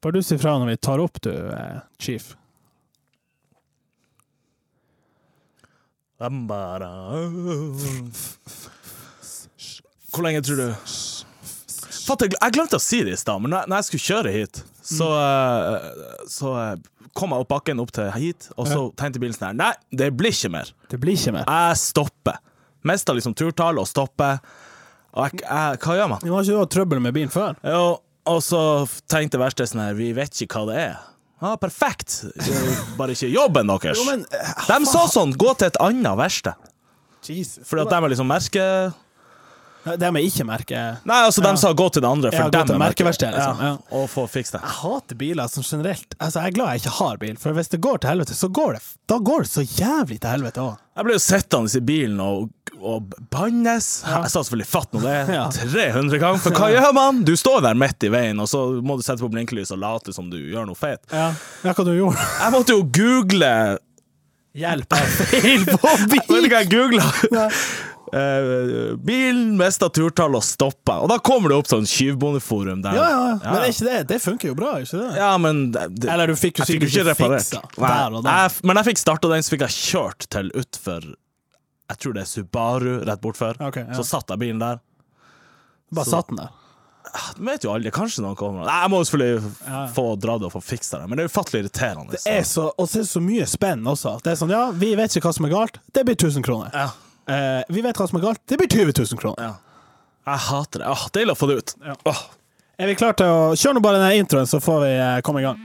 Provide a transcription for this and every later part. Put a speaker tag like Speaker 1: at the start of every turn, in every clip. Speaker 1: Bare du si fra når vi tar opp, du, eh, chief.
Speaker 2: Hvor lenge tror du Fatt, jeg, jeg glemte å si det i stad, men når når jeg skulle kjøre hit, så, eh, så eh, kom jeg opp bakken opp til hit, og så tenkte bilen sånn her Nei, det blir ikke mer.
Speaker 1: Det blir ikke mer.
Speaker 2: Jeg stopper. Mista liksom turtallet og stopper. Og jeg, jeg, hva gjør man?
Speaker 1: Men Har ikke du hatt trøbbel med bilen før?
Speaker 2: Jo, og så tenkte verkstedet sånn her Vi vet ikke hva det er. Ja, perfekt! Det er jo Bare ikke jobben deres.
Speaker 1: Jo, men, eh,
Speaker 2: de sa sånn, gå til et annet verksted.
Speaker 1: Jesus.
Speaker 2: Fordi at de er liksom merke...
Speaker 1: Det må jeg ikke eh, merke.
Speaker 2: Nei, altså, de sa gå til det andre, for
Speaker 1: Ja, gå
Speaker 2: dem
Speaker 1: til
Speaker 2: er merke-
Speaker 1: merkeverkstedet, liksom,
Speaker 2: Ja,
Speaker 1: ja.
Speaker 2: Og få fikse det.
Speaker 1: Jeg hater biler som generelt. Altså, jeg er glad jeg ikke har bil, for hvis det går til helvete, så går det. Da går det så jævlig til helvete òg.
Speaker 2: Jeg ble jo sittende i bilen og, og bannes. Jeg sa selvfølgelig fatt nå det
Speaker 1: Ja.
Speaker 2: 300 ganger, for hva gjør man? Du står der midt i veien, og så må du sette på blinkelys og late som du gjør noe feit.
Speaker 1: Ja. ja, hva du gjorde?
Speaker 2: Jeg måtte jo google
Speaker 1: Hjelp, jeg har feil på
Speaker 2: Vet du
Speaker 1: bil!
Speaker 2: hva jeg googla? bilen mista turtallet og stoppa. Og da kommer det opp sånn tjuvbondeforum der.
Speaker 1: Ja, ja, ja. Men er ikke det Det funker jo bra, ikke det?
Speaker 2: Ja, men det, det-
Speaker 1: Eller du fikk jo
Speaker 2: jeg fikk jo
Speaker 1: sikkert
Speaker 2: ikke
Speaker 1: ikke
Speaker 2: reparert.
Speaker 1: fiksa
Speaker 2: Nei.
Speaker 1: der og da.
Speaker 2: Jeg f- men jeg fikk starta den, så fikk jeg kjørt til utfor Jeg tror det er Subaru rett bortfor.
Speaker 1: Ok, ja.
Speaker 2: Så satt jeg bilen der.
Speaker 1: Bare satt den der.
Speaker 2: Du vet jo aldri, kanskje noen kommer. Nei, jeg må jo selvfølgelig f-
Speaker 1: Ja.
Speaker 2: få dra det og få fiksa det, men det er ufattelig irriterende.
Speaker 1: Det er så, og så er det så mye spenn også. Det er sånn, ja, vi vet ikke hva som er galt. Det blir 1000 kroner.
Speaker 2: ja.
Speaker 1: Eh, vi vet hva som er galt. Det blir 20 000 kroner.
Speaker 2: Ja. Jeg hater det. Åh, Deilig å få det ut.
Speaker 1: Ja.
Speaker 2: Åh.
Speaker 1: Er vi klare til å Kjør nå bare denne introen, så får vi eh, komme i gang.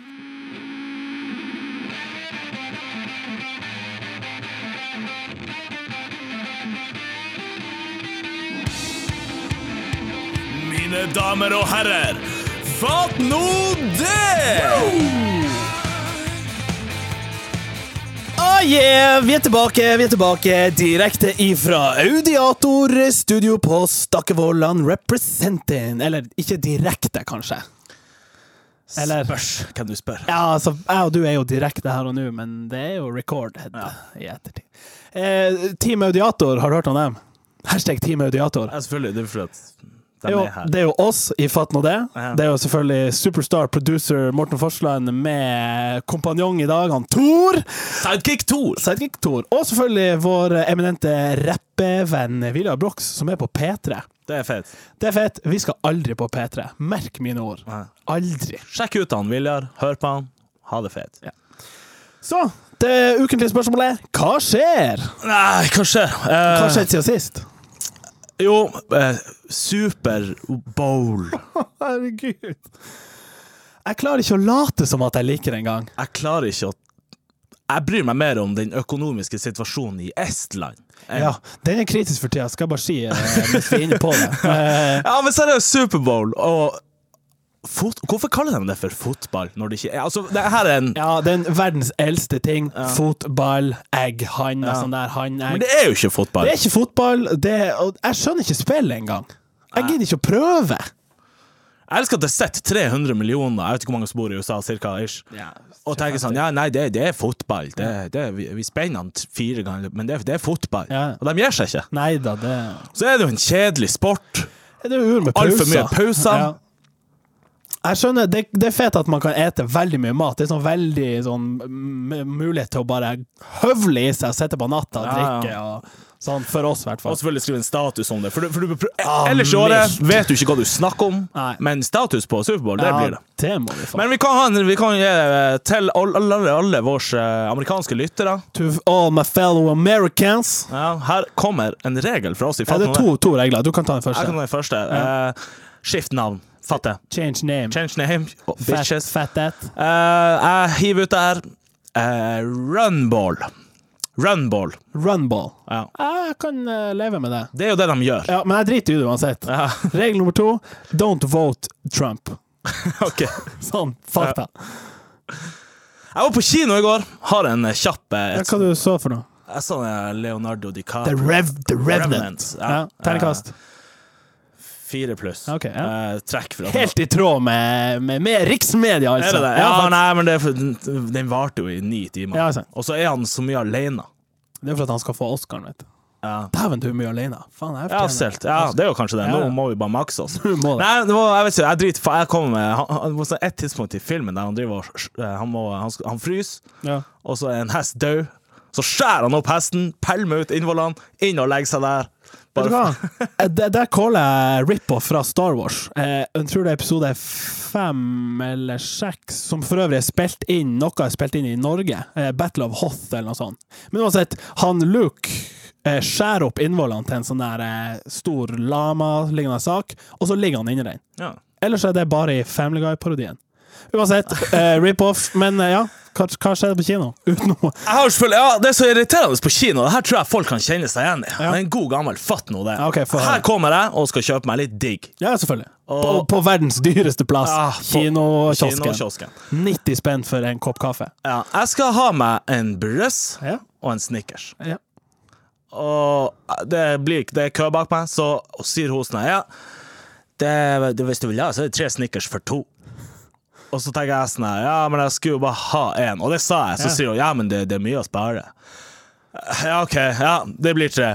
Speaker 2: Mine damer og herrer, fatt nå det!
Speaker 1: Oh yeah! Vi er tilbake, vi er tilbake direkte ifra Audiator studio på Stakkevollan Representing. Eller ikke direkte, kanskje. Eller-
Speaker 2: Spørs hvem du spør.
Speaker 1: Ja, altså, jeg og du er jo direkte her og nå, men det er jo record i ettertid. Eh, Team Audiator, har du hørt om dem? Hashtag Team Audiator.
Speaker 2: Ja, selvfølgelig. Det er fordi at
Speaker 1: Det er,
Speaker 2: de
Speaker 1: jo,
Speaker 2: er her.
Speaker 1: det er jo oss i Fatt nå det.
Speaker 2: Ja.
Speaker 1: Det er jo selvfølgelig superstar producer Morten Forsland med kompanjong i dag, han Tor.
Speaker 2: Sidekick Tour!
Speaker 1: Sidekick Tor. Og selvfølgelig vår eminente rappevenn Vilja Brox, som er på P3.
Speaker 2: Det er fett.
Speaker 1: Det er fett. Vi skal aldri på P3. Merk mine ord.
Speaker 2: Nei.
Speaker 1: Aldri.
Speaker 2: Sjekk ut han, Viljar. Hør på han. Ha det fett.
Speaker 1: Så, det ukentlige spørsmålet er hva skjer?
Speaker 2: Nei, hva skjer? Eh,
Speaker 1: Hva skjedde siden sist?
Speaker 2: Jo, eh, Super Bowl.
Speaker 1: Herregud. Jeg klarer ikke å late som at jeg liker det engang.
Speaker 2: Jeg klarer ikke å Jeg bryr meg mer om den økonomiske situasjonen i Estland. Eh, enn-
Speaker 1: Ja, den er kritisk for tida, skal jeg bare si eh, mens vi er inne på det. Eh,
Speaker 2: Ja, men seriøst, Super Bowl og fot Hvorfor kaller de det for fotball når det ikke er Altså, det her er en
Speaker 1: Ja, den verdens eldste ting. Fotball, egg, hann og
Speaker 2: Ja.
Speaker 1: sånn der. Hann,
Speaker 2: Men
Speaker 1: egg.
Speaker 2: det
Speaker 1: Det,
Speaker 2: er jo ikke fotball.
Speaker 1: er ikke fotball. Det, og jeg skjønner ikke spillet engang. Jeg gidder ikke å prøve.
Speaker 2: Jeg elsker at det sitter 300 millioner, jeg vet ikke hvor mange som bor i USA, cirka, ish. Og tenker sånn, ja, nei, det, det er fotball. Det, det, vi, vi spenner han t- fire ganger, men det, det er fotball.
Speaker 1: Ja.
Speaker 2: Og de gir seg ikke.
Speaker 1: Nei da, det
Speaker 2: Så er det jo en kjedelig sport.
Speaker 1: Det er jo ur med pauser.
Speaker 2: Alt for mye pauser.
Speaker 1: Ja. Jeg skjønner, det, det er fett at man kan ete veldig mye mat. Det er sånn veldig sånn m- mulighet til å bare høvle i seg og sitte på natta og
Speaker 2: Ja, ja.
Speaker 1: drikke. Og sånn, for oss, i hvert
Speaker 2: Og
Speaker 1: fall.
Speaker 2: selvfølgelig skrive en status om det. For, du- for du,
Speaker 1: Ah,
Speaker 2: ellers i året
Speaker 1: mildt.
Speaker 2: vet du ikke hva du snakker om,
Speaker 1: Nei.
Speaker 2: men status på Superbowl, det blir det.
Speaker 1: Ja, det må vi få.
Speaker 2: Men vi kan, ha en- vi kan gi eh, til alle, alle, alle våre eh, amerikanske lyttere
Speaker 1: To all my fellow Americans.
Speaker 2: ja, Her kommer en regel fra oss i
Speaker 1: Ja, det
Speaker 2: Fatt
Speaker 1: er
Speaker 2: noe.
Speaker 1: to, to regler. Du kan ta den første.
Speaker 2: Jeg kan ta den første. Eh, skift navn. Fatte.
Speaker 1: Change name.
Speaker 2: Change name. Bitches.
Speaker 1: Fat, fat that.
Speaker 2: Eh, jeg hiver ut det her. Eh, runball. Runball.
Speaker 1: Runball.
Speaker 2: Ja.
Speaker 1: Jeg kan eh, leve med det.
Speaker 2: Det er jo det de gjør.
Speaker 1: Ja, men jeg driter i det uansett.
Speaker 2: Ja,
Speaker 1: Regel nummer to don't vote Trump.
Speaker 2: ok.
Speaker 1: Sånn, fakta.
Speaker 2: Jeg var på kino i går. Har en eh, kjapp eh,
Speaker 1: Ja,
Speaker 2: et,
Speaker 1: hva du så for noe?
Speaker 2: Jeg så eh, Leonardo
Speaker 1: The,
Speaker 2: DiCaprio.
Speaker 1: rev, the Revenant.
Speaker 2: Revenant, ja.
Speaker 1: Ja, Terningkast.
Speaker 2: Fire pluss.
Speaker 1: Ok, ja.
Speaker 2: Eh, trekk fra
Speaker 1: Helt i tråd med, med, med riksmedia,
Speaker 2: Er
Speaker 1: altså.
Speaker 2: det det? Ja,
Speaker 1: Ja,
Speaker 2: nei, men det, er for- den, den varte jo i ni timer.
Speaker 1: Ja, altså. sant.
Speaker 2: Og så er han så mye alene.
Speaker 1: det er for at han skal få Oscaren, vet du.
Speaker 2: Ja.
Speaker 1: Dæven, du er mye alene. Faen, jeg
Speaker 2: Ja,
Speaker 1: fortjener-
Speaker 2: selt. Ja, det er jo kanskje det.
Speaker 1: Ja.
Speaker 2: Nå må vi bare makse oss.
Speaker 1: Du må det.
Speaker 2: Nei, det var, jeg vet ikke, jeg driter faen. Jeg kommer med han- han- på sånn et tidspunkt i filmen der han driver og sj- sj- Han, må, han, skal- han fryser,
Speaker 1: Ja.
Speaker 2: og så er en hest død. Så skjærer han opp hesten, pælmer ut innvollene, inn og legger seg der.
Speaker 1: Vet du
Speaker 2: Bare,
Speaker 1: hva? Eh, Det, der caller jeg rip-off fra Star Wars. Eh, Jeg tror det er episode fem eller seks, som for øvrig er spilt inn Noe er spilt inn i Norge. Eh, Battle of Hoth eller noe sånt. Men uansett, han Luke eh, skjærer opp innvollene til en sånn der eh, stor lama-lignende sak, og så ligger han inni den.
Speaker 2: ja.
Speaker 1: Ellers er det bare i Family Guy-parodien. Uansett, eh, rip-off. Men eh, ja, hva, hva skjedde på kino? Uten noe
Speaker 2: Jeg har jo selvfølgelig, ja, Det er så irriterende på kino, det her tror jeg folk kan kjenne seg igjen i.
Speaker 1: Ja.
Speaker 2: Det er en god gammel fatt nå, det.
Speaker 1: Ja, ok, få høre.
Speaker 2: her kommer jeg og skal kjøpe meg litt digg.
Speaker 1: Ja, selvfølgelig. På,
Speaker 2: Og-
Speaker 1: på verdens dyreste plass.
Speaker 2: Ah, på-
Speaker 1: Kinokiosken.
Speaker 2: Kinokiosken.
Speaker 1: 90 spenn for en kopp kaffe.
Speaker 2: Ja, jeg skal ha meg en brøs
Speaker 1: Ja.
Speaker 2: og en Snickers.
Speaker 1: Ja.
Speaker 2: Og eh, det blir ikke- det er kø bak meg, så sier hun sånn Ja, det, det, hvis du vil ha, så er det tre Snickers for to. Og så tenker jeg sånn her, Ja, men jeg skulle jo bare ha én. Og det sa jeg. Så
Speaker 1: Ja.
Speaker 2: sier hun ja, men det, det er mye å spare. Eh, Ja, OK. Ja, det blir tre.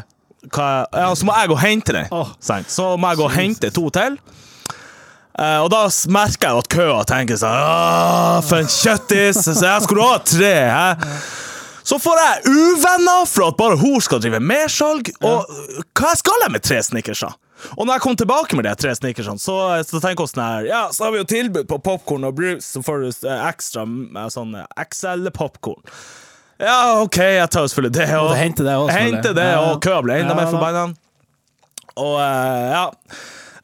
Speaker 2: Hva, ja, så må jeg gå og hente den.
Speaker 1: Åh.
Speaker 2: sant? Så må jeg gå og hente to til. Eh, og da s- merker jeg jo at køa tenker sånn «Åh, For en kjøttis! Så jeg skulle ha tre! Hæ? Så får jeg uvenner for at bare hun skal drive mersalg. Og øh, hva skal jeg med tre snickerser? Og når jeg kom tilbake med de tre snickersene, så, så tenker jeg sånn her Ja, så har vi jo tilbud på popkorn og brus, så får du eh, ekstra eh, sånn XL-popkorn. Ja, OK, jeg tar jo selvfølgelig det. Og,
Speaker 1: Og hente det også, selvfølgelig.
Speaker 2: Hente det,
Speaker 1: Ja.
Speaker 2: og køa ble
Speaker 1: Ja,
Speaker 2: enda mer
Speaker 1: da.
Speaker 2: forbanna. Og eh, ja.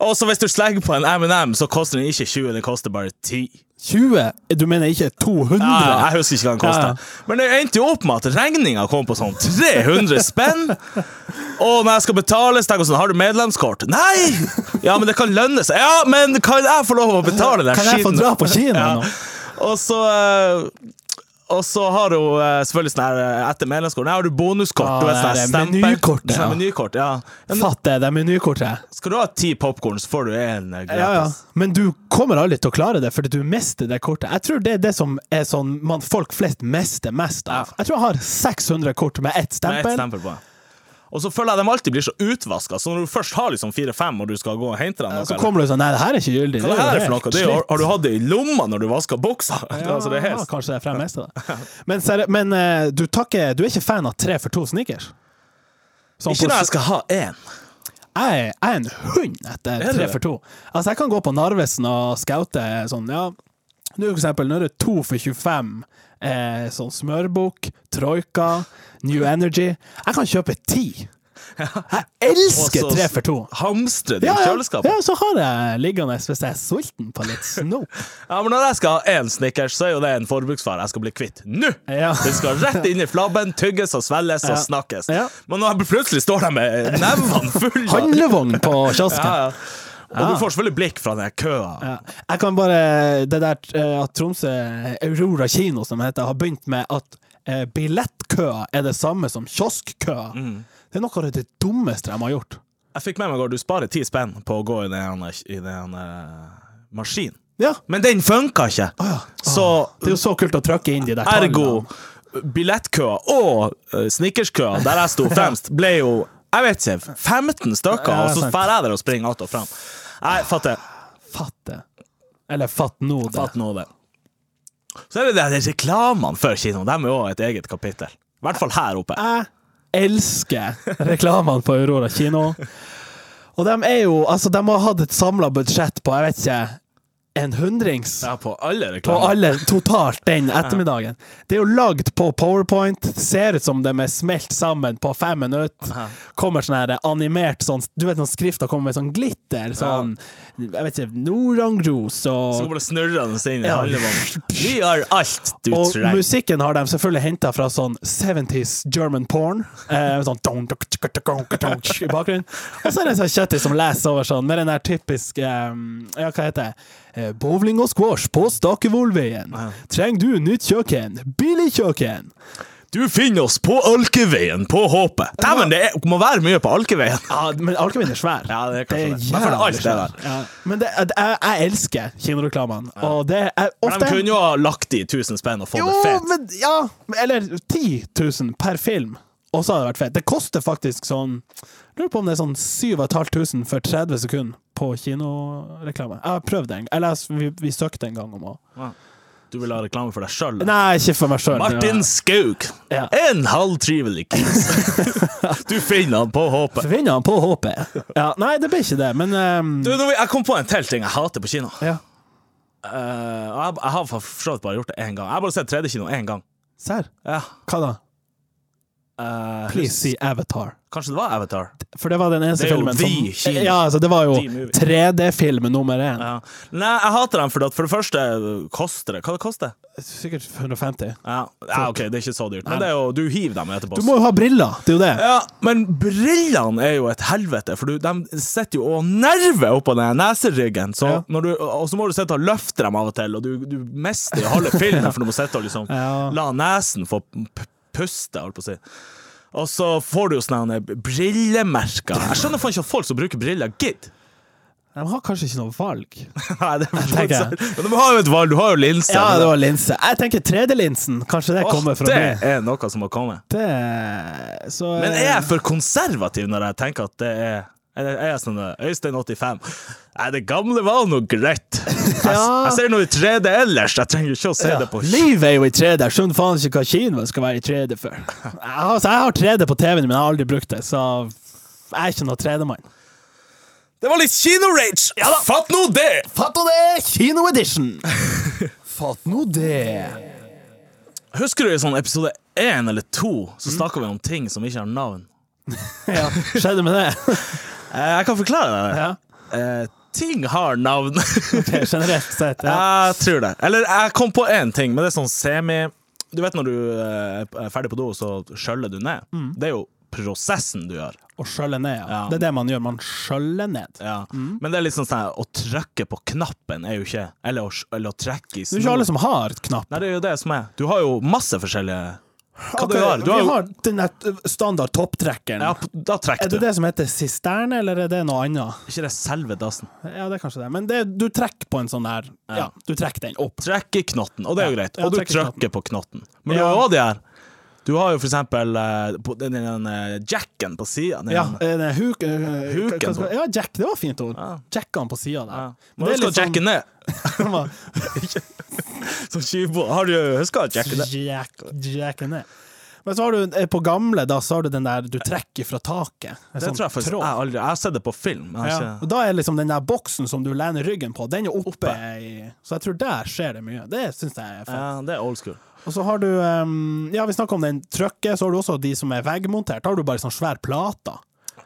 Speaker 2: Og så hvis du slenger på en M&M, så koster den ikke 20, den koster bare 10.
Speaker 1: 20? Du mener ikke 200?
Speaker 2: Ja, ja, jeg husker ikke hva den kosta.
Speaker 1: Ja, ja.
Speaker 2: Men det endte jo opp med at regninga kom på sånn 300 spenn. Og når jeg skal betale, så tenker jeg sånn Har du medlemskort? Nei! Ja, men det kan lønne seg. Ja, men kan jeg få lov å betale den
Speaker 1: Kan jeg få
Speaker 2: skitten?
Speaker 1: dra på kino nå?
Speaker 2: Og så eh, og så har hun eh, selvfølgelig sånn her eh, etter medlemskort. Nei, har du bonuskort?
Speaker 1: Ah,
Speaker 2: du vet, sånn her
Speaker 1: det er
Speaker 2: stempel.
Speaker 1: menykortet,
Speaker 2: Sånn her
Speaker 1: ja.
Speaker 2: menykort, ja. Ja, men
Speaker 1: Fatt det, det er menykortet.
Speaker 2: Skal du ha ti popkorn, så får du én eh, gratis.
Speaker 1: Ja, ja. Men du kommer aldri til å klare det, fordi du mister det kortet. Jeg tror det er det som er sånn man, folk flest mister mest av. Jeg tror jeg har 600 kort med ett
Speaker 2: Med ett
Speaker 1: stempel.
Speaker 2: stempel på. den. Og så føler jeg de alltid blir så utvaska. Så når du først har liksom fire-fem, og du skal gå og hente dem noe,
Speaker 1: Så
Speaker 2: eller-
Speaker 1: kommer du sånn Nei, det her er ikke gyldig.
Speaker 2: hva er det her er for
Speaker 1: helt
Speaker 2: noe? Det er, jo-
Speaker 1: slitt.
Speaker 2: har, har du hatt det i lomma når du vasker buksa?
Speaker 1: Ja,
Speaker 2: altså, det er
Speaker 1: ja,
Speaker 2: helt
Speaker 1: kanskje det er fra meste, da. Men, seri- men eh, du, takker, du er ikke fan av tre for to sneakers? Sånn
Speaker 2: Ikke
Speaker 1: på-
Speaker 2: når jeg skal ha én.
Speaker 1: jeg, er- jeg er en hund etter
Speaker 2: Er du
Speaker 1: tre
Speaker 2: det?
Speaker 1: for to. Altså, jeg kan gå på Narvesen og scoute sånn, ja. Nå for eksempel, nå er det to for 25. Eh, sånn smørbukk, troika, New Energy. Jeg kan kjøpe ti. Jeg elsker
Speaker 2: Og så-
Speaker 1: tre for to.
Speaker 2: Hamstre det
Speaker 1: Ja,
Speaker 2: i
Speaker 1: ja.
Speaker 2: kjøleskapet.
Speaker 1: ja, så har jeg liggende hvis jeg er sulten på litt snop.
Speaker 2: Ja, men når jeg skal ha én snickers, så er jo det en forbruksvare jeg skal bli kvitt nå!
Speaker 1: Ja.
Speaker 2: Den skal rett inn i flabben, tygges og svelges og snakkes.
Speaker 1: Ja.
Speaker 2: Men når jeg plutselig står der med nevene fulle av-
Speaker 1: Handlevogn på kiosken.
Speaker 2: ja, ja. Og du får selvfølgelig blikk fra den her køa.
Speaker 1: Ja. Jeg kan bare Det der eh, at Tromsø Aurora kino, som det heter, har begynt med at eh, billettkøa er det samme som kioskkøa. Det er noe av det dummeste de har gjort.
Speaker 2: Jeg fikk med meg at du sparer ti spenn på å gå i den, i den eh, maskinen.
Speaker 1: Ja.
Speaker 2: Men den funka ikke! Så
Speaker 1: Det er jo så kult å trykke inn de der
Speaker 2: ergo billettkøa og uh, snickerskøa, der jeg sto fremst, ble jo jeg vet ikke, 15 stykker,
Speaker 1: Ja,
Speaker 2: og så
Speaker 1: sant.
Speaker 2: drar jeg der og springer att og fram. Jeg fatter,
Speaker 1: Fatt det. Eller fatt nå det.
Speaker 2: fatter nå det. Så er det det de reklamene for kino. De er jo også et eget kapittel. I hvert fall her oppe.
Speaker 1: Jeg elsker reklamene på Aurora kino. Og de er jo Altså, de har hatt et samla budsjett på, jeg vet ikke, en hundrings.
Speaker 2: Ja, på alle
Speaker 1: på
Speaker 2: reklamer.
Speaker 1: alle totalt den ettermiddagen. Det er jo lagd på PowerPoint, ser ut som de er smelt sammen på fem minutter. Kommer sånn her animert sånn Du vet når skrifta kommer med sånn glitter, sånn Jeg vet ikke Norangros
Speaker 2: Så
Speaker 1: og
Speaker 2: kommer det snurrende inn i
Speaker 1: Ja.
Speaker 2: handlevognen. Vi har alt du
Speaker 1: og
Speaker 2: trenger.
Speaker 1: musikken har de selvfølgelig henta fra sånn 70s German porn. Eh, sånn dong, dong, tsk, tsk, dong, dong, tsk, I bakgrunnen. Og så er det en sånn kjøttis som leser over sånn, med den der typiske eh, Ja, hva heter det? Eh, Bowling og squash på Stakevollveien. Trenger du nytt kjøkken? Billig kjøkken!
Speaker 2: Du finner oss på Alkeveien på Håpet. Dæven, det er, må være mye på Alkeveien.
Speaker 1: Ja, men Alkemin er svær.
Speaker 2: Ja, det er kanskje det. Men for det er
Speaker 1: jævlig
Speaker 2: alt det
Speaker 1: svær. Ja. Men det, jeg, jeg elsker kinoreklamene, og det er
Speaker 2: Men de
Speaker 1: ofte
Speaker 2: kunne jo ha lagt i 1000 spenn og fått
Speaker 1: Jo,
Speaker 2: det fett.
Speaker 1: men ja Eller 10 000 per film. Og så hadde det vært fett. Det koster faktisk sånn jeg Lurer på om det er sånn 7500 for 30 sekunder på kinoreklame. Jeg har prøvd det en gang. Eller jeg- vi, vi søkte en gang om å
Speaker 2: Du vil ha reklame for deg sjøl?
Speaker 1: Nei, ikke for meg sjøl.
Speaker 2: Martin Skaug!
Speaker 1: Ja.
Speaker 2: En halvtrivelig kis! Du finner han på Håpet.
Speaker 1: Forvinner han på håpet? Ja, nei, det ble ikke det, men ehm,
Speaker 2: Du, nå- jeg kom på en til ting jeg hater på kino.
Speaker 1: ja.
Speaker 2: Eh, og jeg, jeg har for så vidt bare gjort det én gang. Jeg har bare sett 3D-kino én gang.
Speaker 1: Serr?
Speaker 2: Ja.
Speaker 1: Hva da?
Speaker 2: Eh,
Speaker 1: Please si Avatar.
Speaker 2: Kanskje det var Avatar?
Speaker 1: For det var den eneste
Speaker 2: Det er jo
Speaker 1: filmen
Speaker 2: the
Speaker 1: som
Speaker 2: kino.
Speaker 1: Ja, altså, det var jo
Speaker 2: The movie.
Speaker 1: 3D-film nummer én.
Speaker 2: Ja. Nei, jeg hater dem fordi at for det første koster det. Hva det koster det?
Speaker 1: Sikkert 150.
Speaker 2: Ja. ja, OK, det er ikke så dyrt, men det er jo, du hiver dem etterpå.
Speaker 1: Du må jo ha briller, det er jo det.
Speaker 2: Ja, men brillene er jo et helvete, for du, de sitter jo og nerver oppå den neseryggen. Så
Speaker 1: Ja.
Speaker 2: når du, og så må du sitte og løfte dem av og til, og du, du mister jo halve filmen, for du må sitte og liksom
Speaker 1: Ja.
Speaker 2: la nesen få p- puste, holdt på å si. Og så får du jo sånne her brillemerker. Jeg skjønner faen ikke at folk som bruker briller, gidder.
Speaker 1: De har kanskje ikke noe valg.
Speaker 2: Nei, det er for
Speaker 1: tenker
Speaker 2: sant. Men Du har jo et valg, du har jo linser.
Speaker 1: Ja, det var linse. Jeg tenker 3D-linsen. Kanskje det
Speaker 2: Åh,
Speaker 1: kommer fra
Speaker 2: det
Speaker 1: meg.
Speaker 2: er noe som må komme.
Speaker 1: Det Så
Speaker 2: Men er jeg for konservativ når jeg tenker at det er eller er jeg sånn eh, Øystein 85? Nei, det gamle var nå greit. Jeg,
Speaker 1: Ja.
Speaker 2: jeg ser noe i 3D ellers, jeg trenger ikke å se
Speaker 1: Ja.
Speaker 2: det på
Speaker 1: Livet er jo i 3D. Jeg skjønner faen ikke hva kinoet skal være i 3D for. Jeg har, så jeg har 3D på TV-en, men jeg har aldri brukt det, så jeg er ikke noen 3D-mann.
Speaker 2: Det var litt kino-rage!
Speaker 1: da.
Speaker 2: Fatt nå det!
Speaker 1: Fatt nå det! Kino-edition! Fatt nå det!
Speaker 2: Husker du i sånn episode én eller to, så snakka vi om ting som ikke har navn?
Speaker 1: Ja, skjedde med det?
Speaker 2: Eh, Jeg kan forklare deg det.
Speaker 1: Ja.
Speaker 2: Eh, ting har navn.
Speaker 1: Ok, generelt sett. Ja.
Speaker 2: Jeg tror det. Eller jeg kom på én ting, men det er sånn semi Du vet når du eh, er ferdig på do, så skjøller du ned. Det er jo prosessen du gjør.
Speaker 1: Å skjølle ned, ja.
Speaker 2: Ja.
Speaker 1: Det er det man gjør. Man skjøller ned.
Speaker 2: Ja. Men det er litt sånn sånn her, å trykke på knappen er jo ikke Eller å, eller å trekke
Speaker 1: Det
Speaker 2: i
Speaker 1: er jo ikke
Speaker 2: snor.
Speaker 1: alle som har knapp.
Speaker 2: Nei, det er jo det som er. Du har jo masse forskjellige Hva
Speaker 1: Ok,
Speaker 2: du har. Du
Speaker 1: Vi
Speaker 2: har, jo-
Speaker 1: har den der standard topptrekkeren.
Speaker 2: ja, p- da
Speaker 1: Er
Speaker 2: trekker du.
Speaker 1: det det som heter sisterne, eller er det noe annet?
Speaker 2: Ikke det selve dassen.
Speaker 1: Ja, det er kanskje det. Men det, du trekker på en sånn der
Speaker 2: Ja.
Speaker 1: Ja, du trekker den opp.
Speaker 2: Trekk i knotten, og det er jo
Speaker 1: Ja,
Speaker 2: greit.
Speaker 1: ja,
Speaker 2: Og du
Speaker 1: trekk i knotten.
Speaker 2: trykker på knotten. Men du
Speaker 1: Ja.
Speaker 2: har jo også de her. Du har jo for eksempel eh, på den, den, eh, jacken på sida.
Speaker 1: Ja, eh, den huk, eh,
Speaker 2: Huken
Speaker 1: hva skal-
Speaker 2: på.
Speaker 1: Ja, jack, det var fint ord.
Speaker 2: Ja.
Speaker 1: Jacka han på sida der.
Speaker 2: Ja.
Speaker 1: Men
Speaker 2: Men
Speaker 1: det er
Speaker 2: husk å
Speaker 1: litt
Speaker 2: jacke ned.
Speaker 1: sånn-
Speaker 2: Som tjuvbo. Har du huska å jacke ned?
Speaker 1: Jack, jacka ned. Men så har du eh, på gamle, da, så har du den der du trekker fra taket. En
Speaker 2: Det
Speaker 1: sånn
Speaker 2: tror jeg faktisk
Speaker 1: tråd.
Speaker 2: jeg aldri Jeg har sett det på film. Jeg har
Speaker 1: Ja.
Speaker 2: ikke
Speaker 1: Og da er liksom den der boksen som du lener ryggen på, den er oppe, i Så jeg tror der skjer det mye. Det syns jeg er fett.
Speaker 2: ja, det er old school.
Speaker 1: Og så har du ehm, Ja, vi snakka om den trykket, så har du også de som er veggmontert. Da har du bare sånn svær plate.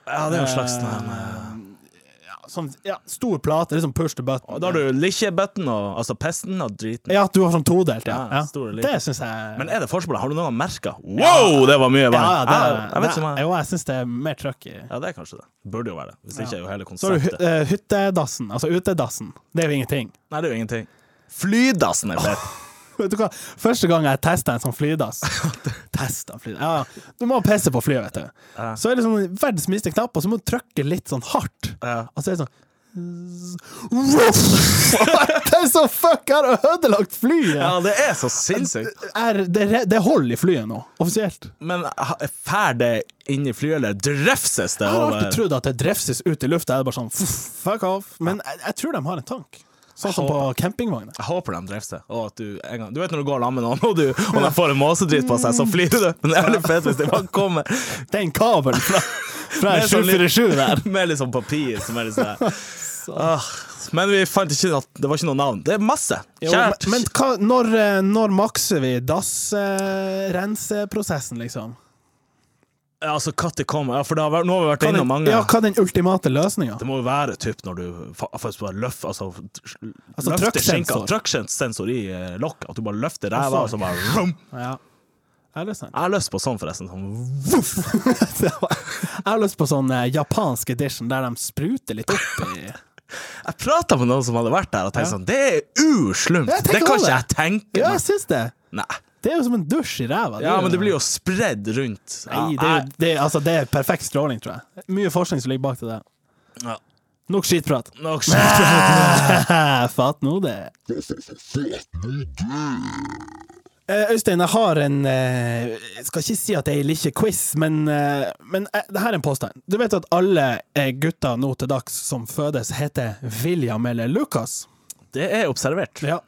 Speaker 2: Ja, det er jo en slags sånn her, eh,
Speaker 1: Sånn, ja, stor plate, liksom push to
Speaker 2: Og
Speaker 1: button.
Speaker 2: da har du likkjebøtten, og- altså pesten og driten.
Speaker 1: Ja, du har sånn todelt, ja.
Speaker 2: Ja,
Speaker 1: ja.
Speaker 2: stor og liten.
Speaker 1: Det syns jeg
Speaker 2: Men er det forskjell? Har du noen merker? Wow, det var mye
Speaker 1: ja,
Speaker 2: vann!
Speaker 1: ja, det,
Speaker 2: jeg, jeg vet ikke om
Speaker 1: det,
Speaker 2: jeg
Speaker 1: Jo, jeg syns det er mer trøkk i
Speaker 2: Ja, det er kanskje det. Burde jo være det. Hvis ikke er jo hele
Speaker 1: Så har du
Speaker 2: konseptet
Speaker 1: hy- eh, hyttedassen, altså utedassen. Det er jo ingenting.
Speaker 2: Nei, det er jo ingenting. Flydassen er fett.
Speaker 1: Vet du hva? Første gang jeg testa en sånn flydass Testa flydass ja, ja. Du må pisse på flyet, vet du.
Speaker 2: Ja.
Speaker 1: Så er det sånn verdens minste knapp, og så må du trykke litt sånn hardt.
Speaker 2: Ja.
Speaker 1: Og så er det sånn Det er så fuck! Jeg har ødelagt flyet!
Speaker 2: Ja, det er så sinnssykt.
Speaker 1: Er, det, er- det er hold i flyet nå, offisielt.
Speaker 2: Men ha- fær det inn i flyet, eller drefses det
Speaker 1: Jeg har
Speaker 2: over
Speaker 1: alltid trodd at det drefses ut i lufta. Jeg er bare sånn fuck off. Men jeg, jeg tror de har en tank. Sånn som på campingvogner.
Speaker 2: Jeg håper de drefser. Og at du, en gang, du vet når du går sammen med noen, og, du, og de får en måsedritt på seg, så flyr du. Men det er jævlig fett hvis de bare kommer
Speaker 1: Den kabelen fra, fra
Speaker 2: Med sånn litt-
Speaker 1: 747 der.
Speaker 2: med litt sånn papir som er litt sånn der. Ah, Men vi fant ikke at det var ikke noe navn. Det er masse.
Speaker 1: Jo,
Speaker 2: Kjært.
Speaker 1: men- men hva, når, eh, når makser vi dassrenseprosessen, liksom?
Speaker 2: Ja, altså, katter kommer. Ja, for det har vært, nå har vi vært
Speaker 1: Hva
Speaker 2: innom
Speaker 1: den,
Speaker 2: mange.
Speaker 1: ja, hva den ultimate løsninga?
Speaker 2: Det må jo være typ når du fa- faktisk bare løf, altså,
Speaker 1: Altså,
Speaker 2: løfter
Speaker 1: trykksensor.
Speaker 2: skinka- Trykksensor i eh, lokk. At du bare løfter ræva, og
Speaker 1: Altså.
Speaker 2: så bare vroom.
Speaker 1: Ja. Er det sant?
Speaker 2: Jeg har lyst på sånn, forresten. Sånn.
Speaker 1: Jeg har lyst på sånn eh, japansk edition der de spruter litt opp i
Speaker 2: Jeg prata med noen som hadde vært der, og tenkte sånn Det er uslumt!
Speaker 1: Ja, jeg tenker
Speaker 2: Det kan
Speaker 1: også
Speaker 2: ikke jeg
Speaker 1: det.
Speaker 2: tenke
Speaker 1: Ja, jeg
Speaker 2: meg.
Speaker 1: syns det!
Speaker 2: Nei.
Speaker 1: Det er jo som en dusj i ræva.
Speaker 2: Ja, men det blir jo spredd rundt.
Speaker 1: Nei, det
Speaker 2: Ja,
Speaker 1: er, jo, det, er- altså, det er perfekt stråling, tror jeg. Mye forskning som ligger bak til det.
Speaker 2: Ja.
Speaker 1: Nok skitprat.
Speaker 2: jeg- nok skjønt.
Speaker 1: Ah, Fatt nå det. Eh, Øystein, jeg har en eh, Jeg skal ikke si at jeg liker quiz, men, eh, men eh, det her er en påstand. Du vet at alle eh, gutter nå til dags som fødes, heter William eller Lucas?
Speaker 2: Det er observert.
Speaker 1: Ja,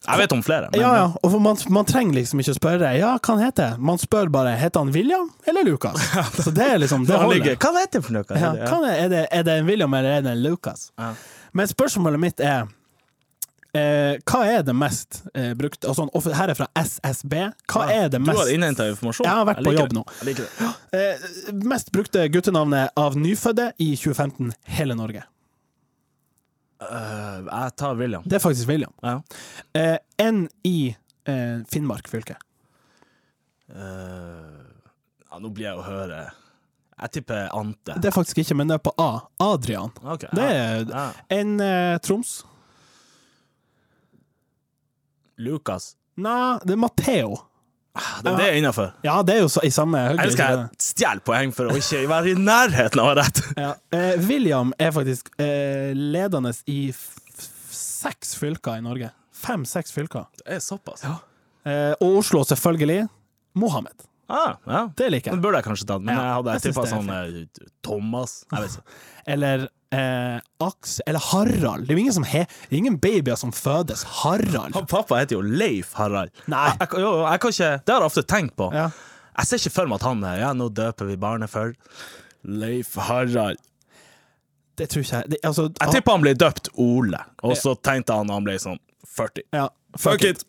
Speaker 2: Jeg vet om flere. Men
Speaker 1: ja. ja. Og for man, man trenger liksom ikke å spørre ja, hva han heter. Man spør bare heter han William eller Lucas. Så det er liksom det
Speaker 2: Han
Speaker 1: holder.
Speaker 2: ligger, hva vet du for noe?
Speaker 1: Ja,
Speaker 2: Ja.
Speaker 1: hva er, det, er det en William eller er det en Lucas?
Speaker 2: Ja.
Speaker 1: Men spørsmålet mitt er eh, Hva er det mest eh, brukt altså, sånn, offi- Her er fra SSB. Hva er det
Speaker 2: Du har
Speaker 1: mest
Speaker 2: innhenta informasjon.
Speaker 1: Jeg har vært
Speaker 2: Jeg
Speaker 1: på
Speaker 2: liker
Speaker 1: jobb
Speaker 2: det.
Speaker 1: nå.
Speaker 2: Jeg liker det.
Speaker 1: Eh, mest brukte guttenavnet av nyfødte i 2015 hele Norge.
Speaker 2: Øh, jeg tar William.
Speaker 1: Det er faktisk William.
Speaker 2: Ja.
Speaker 1: Eh, Enn i eh, Finnmark fylke.
Speaker 2: Øh, ja, nå blir jeg å høre Jeg tipper Ante.
Speaker 1: Det er faktisk ikke, men det er på A. Adrian.
Speaker 2: Ok,
Speaker 1: Det
Speaker 2: ja.
Speaker 1: er
Speaker 2: ja.
Speaker 1: en eh, Troms.
Speaker 2: Lukas.
Speaker 1: Nei, det er Matheo.
Speaker 2: Ah, Det, det er innafor.
Speaker 1: Ja, det er jo så, i samme hugget.
Speaker 2: Jeg elsker
Speaker 1: ikke det?
Speaker 2: jeg stjeler poeng for å ikke være i nærheten av å ha rett.
Speaker 1: Ja. Eh, William er faktisk eh, ledende i f f seks fylker i Norge. Fem-seks fylker.
Speaker 2: Det er såpass. Ja.
Speaker 1: Eh, og Oslo, selvfølgelig. Mohammed.
Speaker 2: Ah, ja.
Speaker 1: Det liker
Speaker 2: Den
Speaker 1: jeg.
Speaker 2: burde jeg kanskje tatt, men
Speaker 1: Ja,
Speaker 2: jeg hadde
Speaker 1: jeg
Speaker 2: jeg
Speaker 1: synes
Speaker 2: tippa
Speaker 1: det er
Speaker 2: sånn eh, Thomas Jeg vet ikke.
Speaker 1: Eller eh, Aks Eller Harald. Det er jo ingen, som he det er ingen babyer som fødes Harald.
Speaker 2: Han pappa heter jo Leif Harald.
Speaker 1: Nei.
Speaker 2: Jeg, jeg, jo, jeg kan ikke, det har jeg ofte tenkt på.
Speaker 1: Ja.
Speaker 2: Jeg ser ikke for meg at han er Ja, nå døper vi barnet for Leif Harald. Ah.
Speaker 1: Det tror ikke jeg det, altså,
Speaker 2: Jeg tipper han ble døpt Ole, og så tenkte han da han ble sånn 40.
Speaker 1: ja,
Speaker 2: Fuck it!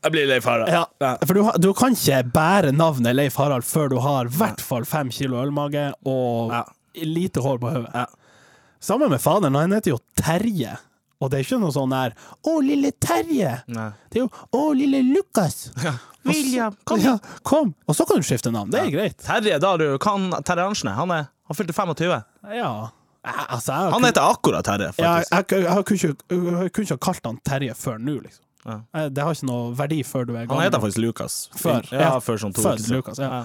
Speaker 2: Jeg blir Leif Harald.
Speaker 1: Ja. For du, har- du kan ikke bære navnet Leif Harald før du har i hvert fall fem kilo ølmage og
Speaker 2: Ja.
Speaker 1: lite hår på hodet.
Speaker 2: Ja.
Speaker 1: Sammen med faderen, han heter jo Terje. Og det er ikke noe sånn der 'Å, lille Terje'.
Speaker 2: Nei.
Speaker 1: Det er jo 'Å, lille Lukas'.
Speaker 2: William, kom
Speaker 1: Ja, kom! Og så kan du skifte navn. Det er greit.
Speaker 2: Terje, da du kan Terje Arnsen, han, er, han fylte 25.
Speaker 1: Ja. Eh, Altså, jeg,
Speaker 2: Han heter akkurat Terje,
Speaker 1: ja,
Speaker 2: faktisk.
Speaker 1: jeg, jeg, jeg, kunne ikke, jeg kunne ikke ha kalt han Terje før nå, liksom.
Speaker 2: Ja.
Speaker 1: Eh, Det har ikke noe verdi før du er gammel.
Speaker 2: Han heter faktisk Lukas.
Speaker 1: Før.
Speaker 2: Ja, før sånn to
Speaker 1: Før
Speaker 2: uker siden.
Speaker 1: Lukas, ja.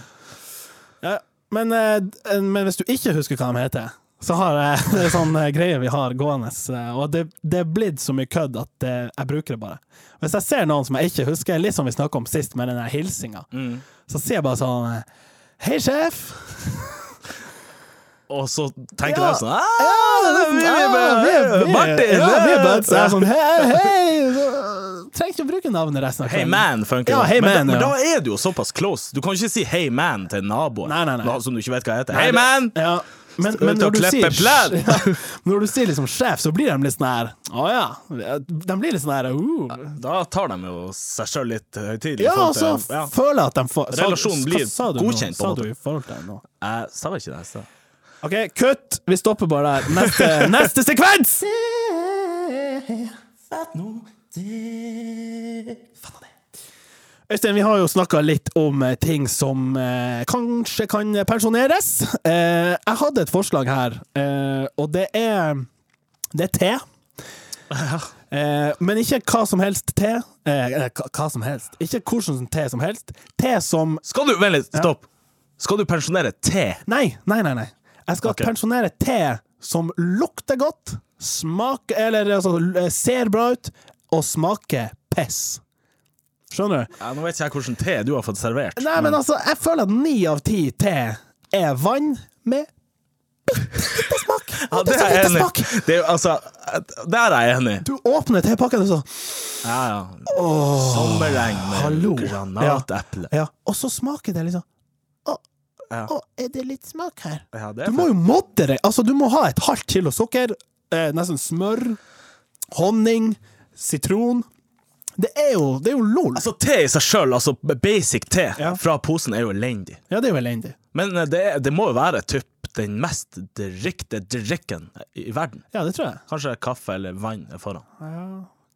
Speaker 1: Ja, men, eh, d- men hvis du ikke husker hva de heter, så har jeg det er sånn eh, greie vi har gående. eh, Og det, det er blitt så mye kødd at eh, jeg bruker det bare. Hvis jeg ser noen som jeg ikke husker, litt som vi snakka om sist med den der hilsinga,
Speaker 2: Mm.
Speaker 1: så sier jeg bare sånn eh, Hei, sjef!
Speaker 2: Og så tenker
Speaker 1: Ja.
Speaker 2: jeg sånn «Ah, vi- vi-
Speaker 1: Liksom,
Speaker 2: vi- Martin!
Speaker 1: Ja, vi er buds! Jeg er
Speaker 2: sånn,
Speaker 1: sånn hei, hei! Så, eh, Trenger ikke å bruke navnet resten av
Speaker 2: Hey man, funker
Speaker 1: Ja,
Speaker 2: jo.
Speaker 1: hey
Speaker 2: men,
Speaker 1: man,
Speaker 2: da- men
Speaker 1: ja.
Speaker 2: da er du jo såpass close. Du kan ikke si hey man til naboen
Speaker 1: Nei, nei, nei.
Speaker 2: da- som du ikke vet hva heter.
Speaker 1: Nei,
Speaker 2: Hey
Speaker 1: det-
Speaker 2: man!
Speaker 1: Ja. Men,
Speaker 2: Skal
Speaker 1: men
Speaker 2: ut
Speaker 1: når,
Speaker 2: og
Speaker 1: du
Speaker 2: kleppe
Speaker 1: sier,
Speaker 2: pledd.
Speaker 1: ja, når du sier liksom sjef, så blir de litt sånn her Å ja. De blir litt sånn her uh.
Speaker 2: Da tar de jo seg sjøl litt høytidelig. i
Speaker 1: Ja, altså, og
Speaker 2: forhold
Speaker 1: så
Speaker 2: til- ja.
Speaker 1: føler jeg at de får sa-
Speaker 2: Relasjonen
Speaker 1: hva
Speaker 2: blir
Speaker 1: sa du nå?
Speaker 2: godkjent, på en
Speaker 1: Sa du i forhold til nå?
Speaker 2: Jeg sa vel ikke det? jeg sa.
Speaker 1: OK, kutt! Vi stopper bare der. Neste, neste sekvens! Oh, Øystein, vi har jo snakka litt om eh, ting som eh, kanskje kan pensjoneres. Eh, jeg hadde et forslag her, eh, og det er Det er te. Eh, men ikke hva som helst te. Eh, eh, hva- hva som helst. Ikke hvordan te som helst. Te som
Speaker 2: Skal du Vent litt, stopp. Skal du pensjonere te?
Speaker 1: Nei, nei, nei. nei. Jeg skal
Speaker 2: Ok.
Speaker 1: pensjonere te som lukter godt, smaker Eller altså, l- ser bra ut, og smaker piss. Skjønner du?
Speaker 2: Ja, nå vet ikke jeg hvilken te du har fått servert.
Speaker 1: Nei, men altså, jeg føler at ni av ti te er vann med bitte smak.
Speaker 2: Ja, det er
Speaker 1: Bitte
Speaker 2: jeg
Speaker 1: lite
Speaker 2: enig
Speaker 1: smak.
Speaker 2: i. Det er jo, Altså, der er jeg enig. i.
Speaker 1: Du åpner tepakken og så
Speaker 2: Ja, ja. Sommerregn
Speaker 1: Hallo.
Speaker 2: med granateple.
Speaker 1: ja. Og så smaker det liksom Å,
Speaker 2: Ja.
Speaker 1: å, er det litt smak her?
Speaker 2: Ja, det
Speaker 1: Du
Speaker 2: er
Speaker 1: må
Speaker 2: fett.
Speaker 1: jo måtte deg. Altså, du må ha et halvt kilo sukker, eh, nesten smør, honning, sitron. Det er jo, det er jo lol.
Speaker 2: Altså, te i seg sjøl, altså basic te
Speaker 1: Ja.
Speaker 2: fra posen, er jo elendig.
Speaker 1: Ja, det er jo elendig.
Speaker 2: Men eh, det, det må jo være typ den mest drikte drikken i verden.
Speaker 1: Ja, det tror jeg.
Speaker 2: Kanskje kaffe eller vann er foran.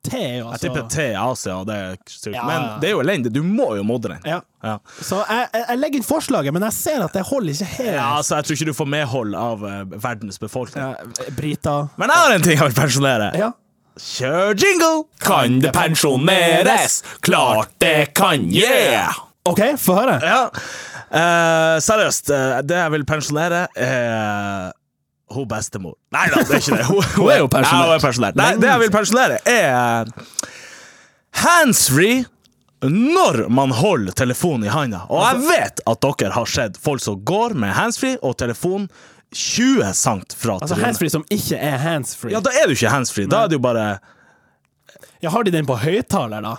Speaker 1: Te er jo
Speaker 2: Jeg
Speaker 1: altså
Speaker 2: tipper te i Asia, og det er surt.
Speaker 1: Ja.
Speaker 2: Men det er jo elendig. Du må jo modre den.
Speaker 1: ja.
Speaker 2: Ja.
Speaker 1: Så jeg, jeg, jeg legger inn forslaget, men jeg ser at det holder ikke helt.
Speaker 2: Ja, altså, jeg tror ikke du får medhold av eh, verdens befolkning.
Speaker 1: Ja, Brita.
Speaker 2: Men jeg har en ting jeg vil pensjonere.
Speaker 1: Ja.
Speaker 2: Kjør jingle! Kan det pensjoneres? Klart det kan, yeah!
Speaker 1: OK, få høre.
Speaker 2: Ja. Eh, seriøst, eh, det jeg vil pensjonere, er hun bestemor. Nei da, det er ikke det. Hun,
Speaker 1: Hun er jo pensjonert.
Speaker 2: Ja, hun er pensjonert. Nei, det jeg vil pensjonere, er eh, handsfree når man holder telefonen i handa. Og jeg vet at dere har sett folk som går med handsfree og telefon 20 cent fra
Speaker 1: Altså
Speaker 2: trynet.
Speaker 1: handsfree som ikke er handsfree.
Speaker 2: Ja,
Speaker 1: Ja,
Speaker 2: da er du ikke handsfree. Da er det jo bare
Speaker 1: har de den på høyttaler, da?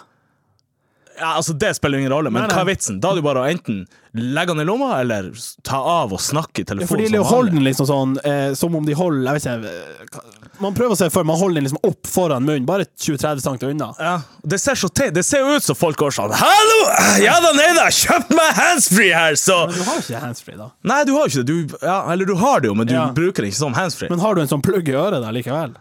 Speaker 2: ja, Altså, det spiller jo ingen rolle, men
Speaker 1: Nei, nei.
Speaker 2: hva er vitsen? Da er det jo bare å enten legge den i lomma, eller ta av og snakke i
Speaker 1: Ja, For de
Speaker 2: telefonen. som
Speaker 1: holder
Speaker 2: vanlig.
Speaker 1: den liksom sånn eh, som om de holder jeg vet ikke, eh, Man prøver å se for man holder den liksom opp foran munnen, bare 20-30 cm unna.
Speaker 2: Ja, det ser så teit Det ser jo ut som folk går sånn Hallo! Ja da, nei da, kjøpt meg handsfree her, så
Speaker 1: Men du har jo ikke handsfree, da.
Speaker 2: Nei, du har jo ikke det. Du, ja, eller du har det jo, men du
Speaker 1: Ja.
Speaker 2: bruker det ikke som handsfree.
Speaker 1: Men har du en sånn plugg i øret da likevel?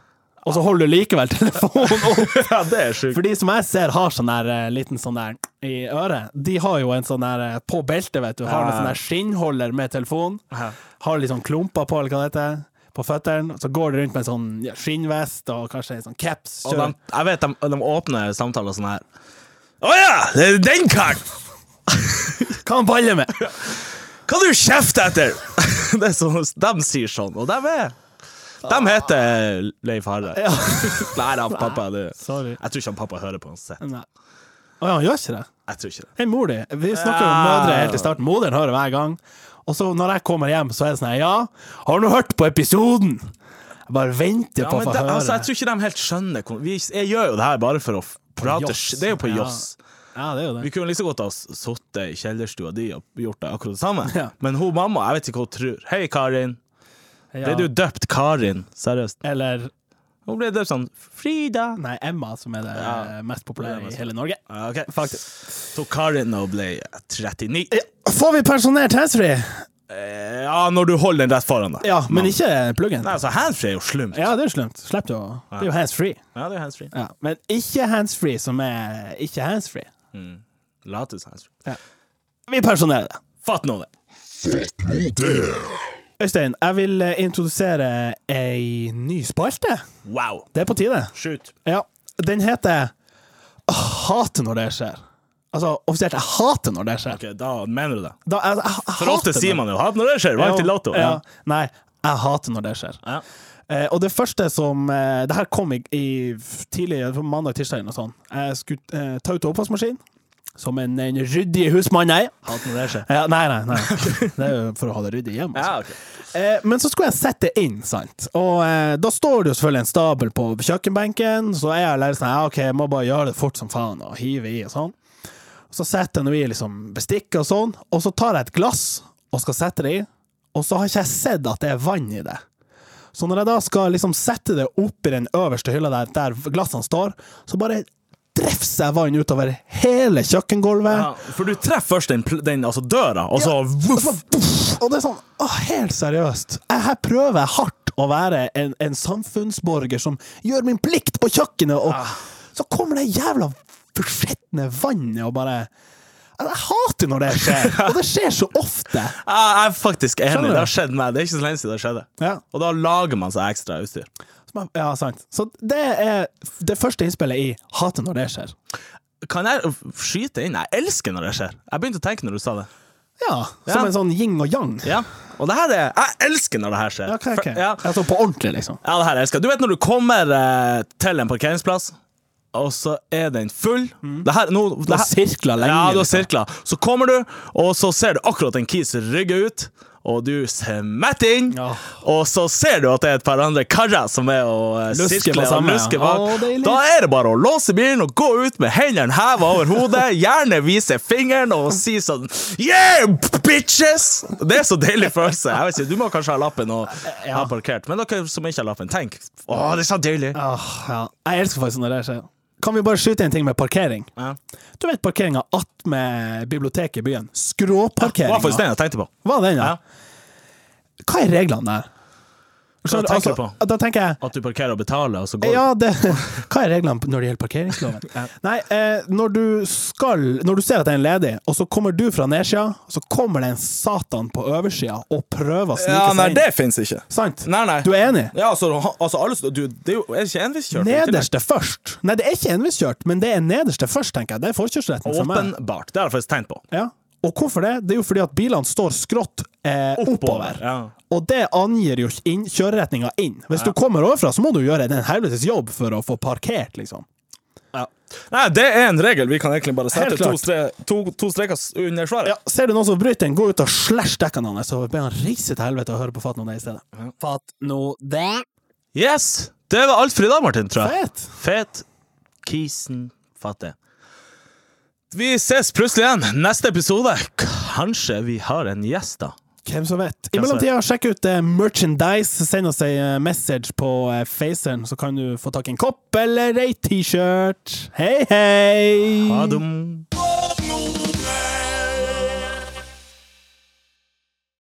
Speaker 1: Og så holder du likevel telefonen opp?
Speaker 2: ja, det er sjukt.
Speaker 1: For de som jeg ser har sånn der eh, liten sånn der i øret, de har jo en sånn der eh, på beltet, vet du. Har en
Speaker 2: Ja.
Speaker 1: sånn der skinnholder med telefon.
Speaker 2: Ja.
Speaker 1: Har litt sånn klumper på, eller hva det heter. På føttene. Så går de rundt med en sånn ja, skinnvest og kanskje en sånn caps.
Speaker 2: Og de,
Speaker 1: Kjører.
Speaker 2: jeg vet de, de åpner samtaler sånn her. Å ja! Det er den karen!
Speaker 1: Hva han baller med!
Speaker 2: Hva du kjefter etter? det er sånn, de sier sånn, og de er De heter Leif Harre.
Speaker 1: Ja.
Speaker 2: Nei da, pappa det.
Speaker 1: Sorry.
Speaker 2: Jeg tror ikke han pappa hører på uansett.
Speaker 1: Nei. Å ja, han gjør ikke det?
Speaker 2: Jeg tror ikke det.
Speaker 1: Hei, mor di. Vi snakker jo om
Speaker 2: Ja.
Speaker 1: mødre helt i starten. Moderen hører hver gang. Og så når jeg kommer hjem, så er det sånn her, Ja, har du hørt på episoden? Jeg bare venter
Speaker 2: Ja,
Speaker 1: på å
Speaker 2: men
Speaker 1: få
Speaker 2: det,
Speaker 1: høre.
Speaker 2: altså, jeg tror ikke de helt skjønner hvor- Vi jeg gjør jo det her bare for å f- prate
Speaker 1: joss.
Speaker 2: sk- Det er jo på
Speaker 1: Ja.
Speaker 2: Joss.
Speaker 1: ja, det er jo
Speaker 2: Vi
Speaker 1: det.
Speaker 2: kunne like godt ha s- sittet i kjellerstua di og gjort det akkurat det samme.
Speaker 1: Ja.
Speaker 2: Men hun mamma, jeg vet ikke hva hun tror. Hei, Karin.
Speaker 1: Ja.
Speaker 2: Ble du døpt Karin? Seriøst.
Speaker 1: Eller
Speaker 2: Hun ble døpt sånn Frida.
Speaker 1: nei, Emma, som er det eh, mest
Speaker 2: Det er
Speaker 1: populære i
Speaker 2: mest-
Speaker 1: hele Norge.
Speaker 2: Ja, Ok,
Speaker 1: Faktisk.
Speaker 2: Så Karin nå ble 39.
Speaker 1: Får vi pensjonert handsfree?
Speaker 2: Eh, Ja, når du holder den rett foran deg.
Speaker 1: Ja, men ikke pluggen.
Speaker 2: Nei, altså, handsfree er jo slumt.
Speaker 1: Ja, det er jo slemt. Slipp det å Det er jo handsfree.
Speaker 2: Ja, det er handsfree.
Speaker 1: Ja. Men ikke handsfree som er ikke handsfree.
Speaker 2: Lates handsfree.
Speaker 1: Vi pensjonerer det.
Speaker 2: Fatt nå det.
Speaker 1: Øystein, jeg vil eh, introdusere ei ny spalte.
Speaker 2: Wow.
Speaker 1: Det er på tide.
Speaker 2: Shoot.
Speaker 1: Ja, den heter Hate når det skjer. Altså offisielt, jeg hater når det skjer.
Speaker 2: Ok, da mener du det.
Speaker 1: Da, jeg, jeg, jeg
Speaker 2: For ofte
Speaker 1: hater
Speaker 2: sier
Speaker 1: når-
Speaker 2: man jo «Hatt når det skjer, varmt i lotto.
Speaker 1: Ja, Nei, jeg hater når det skjer.
Speaker 2: Ja.
Speaker 1: Eh, og det første som eh, Det her kom i, i f- tidlig på mandag-tirsdag eller noe sånt. Jeg skulle eh, ta ut oppvaskmaskinen, som en, en ryddig husmann jeg er.
Speaker 2: Hatt når det skjer.
Speaker 1: Ja, nei, nei, nei. Det er jo for å ha det ryddig hjemme. Altså.
Speaker 2: Ja, ok.
Speaker 1: Eh, men så skulle jeg sette det inn, sant. Og eh, da står det jo selvfølgelig en stabel på kjøkkenbenken, så er jeg litt sånn ja, OK, jeg må bare gjøre det fort som faen, og hive i og sånn. Så setter jeg nå i liksom bestikk og sånn, og så tar jeg et glass og skal sette det i, og så har ikke jeg sett at det er vann i det. Så når jeg da skal liksom sette det oppi den øverste hylla der, der glassene står, så bare drefser jeg vann utover hele kjøkkengulvet.
Speaker 2: Ja, for du treffer først den, pl- den altså døra, og så
Speaker 1: Og så
Speaker 2: voff!
Speaker 1: bare, pff, Og det er sånn, å, helt seriøst. Jeg, her prøver jeg hardt å være en, en samfunnsborger som gjør min plikt på kjøkkenet, og så kommer det jævla forskjetne vannet og bare Altså, Jeg hater når det skjer, og det skjer så ofte.
Speaker 2: Jeg jeg er faktisk enig.
Speaker 1: Skjønner du?
Speaker 2: Det har skjedd meg. Det er ikke så lenge siden det skjedde.
Speaker 1: Ja,
Speaker 2: Og da lager man seg ekstra utstyr.
Speaker 1: som jeg- ja sant. Så det er det første innspillet i 'Hater når det skjer'.
Speaker 2: Kan jeg f- skyte inn? Jeg elsker når det skjer. Jeg begynte å tenke når du sa det.
Speaker 1: Ja, som
Speaker 2: Ja.
Speaker 1: en sånn yin og yang.
Speaker 2: Ja. Og det her er Jeg elsker når det her skjer.
Speaker 1: Ja, ok, ok.
Speaker 2: For- Ja.
Speaker 1: Altså på ordentlig, liksom.
Speaker 2: ja, det her elsker jeg. Du vet når du kommer eh, til en parkeringsplass, og så er den full det her, Mm. nå,
Speaker 1: Du
Speaker 2: det
Speaker 1: har
Speaker 2: her,
Speaker 1: sirkla lenge.
Speaker 2: Ja, du har
Speaker 1: liksom.
Speaker 2: sirkla. Så kommer du, og så ser du akkurat en kis rygge ut, og du smetter inn.
Speaker 1: Ja.
Speaker 2: Og så ser du at det er et par andre karer som er og eh,
Speaker 1: Lusker på
Speaker 2: sirkler og
Speaker 1: samme, ja.
Speaker 2: lusker bak.
Speaker 1: Å, deilig.
Speaker 2: da er det bare å låse bilen og gå ut med hendene heva over hodet, gjerne vise fingeren og si sånn Yeah, bitches! Det er så deilig følelse. Jeg vet ikke, Du må kanskje ha lappen og ha parkert, men dere som ikke har lappen, tenk. Å, det er så deilig.
Speaker 1: Åh, ja. Jeg elsker faktisk når det skjer. Kan vi bare skyte en ting med parkering?
Speaker 2: Ja.
Speaker 1: Du vet parkeringa attmed biblioteket i byen?
Speaker 2: Det var faktisk
Speaker 1: Skråparkeringa.
Speaker 2: det jeg tenkte på.
Speaker 1: Hva er den,
Speaker 2: Ja.
Speaker 1: da? Hva er reglene der? Skjønner du,
Speaker 2: tenker du
Speaker 1: altså, Da tenker jeg
Speaker 2: At du parkerer og betaler, og så går du.
Speaker 1: ja, det, hva er reglene når det gjelder parkeringsloven? Nei, eh, når du skal Når du ser at den er ledig, og så kommer du fra nedsida, så kommer det en satan på oversida og prøver å snike seg inn.
Speaker 2: fins ikke.
Speaker 1: Sant?
Speaker 2: Nei, nei.
Speaker 1: Du er enig?
Speaker 2: Ja, altså, ha- altså alle, du, det er jo er det ikke enveiskjørt.
Speaker 1: Nederste først. Nei, det er ikke enveiskjørt, men det er nederste først, tenker jeg. Det er forkjørsretten for meg.
Speaker 2: Åpenbart. Det har jeg faktisk tenkt på.
Speaker 1: Ja. Og hvorfor det? Det er jo fordi at bilene står skrått eh, oppover.
Speaker 2: Ja.
Speaker 1: Og det angir jo inn, kjøreretninga inn. Hvis du kommer overfra, så må du gjøre en helvetes jobb for å få parkert, liksom.
Speaker 2: Ja. Nei, det er en regel. Vi kan egentlig bare sette
Speaker 1: Helt
Speaker 2: to,
Speaker 1: klart.
Speaker 2: stre to, to streker s- under svaret.
Speaker 1: Ja, ser du noen som bryter den, gå ut og slash dekkene hans, og be han reise til helvete og høre på Fat nå det i stedet. Fat nå det?
Speaker 2: Yes! Det var alt for i dag, Martin, tror jeg.
Speaker 1: Fett!
Speaker 2: Fet. Kisen. Fatte. Vi ses plutselig igjen. Neste episode. Kanskje vi har en gjest, da.
Speaker 1: Hvem som vet. I
Speaker 2: Hvem som
Speaker 1: mellomtida, sjekk ut eh, merchandise. Send oss ei eh, message på eh, Faceren, så kan du få tak i en kopp eller ei T-shirt. Hei, hei!
Speaker 2: Ha det.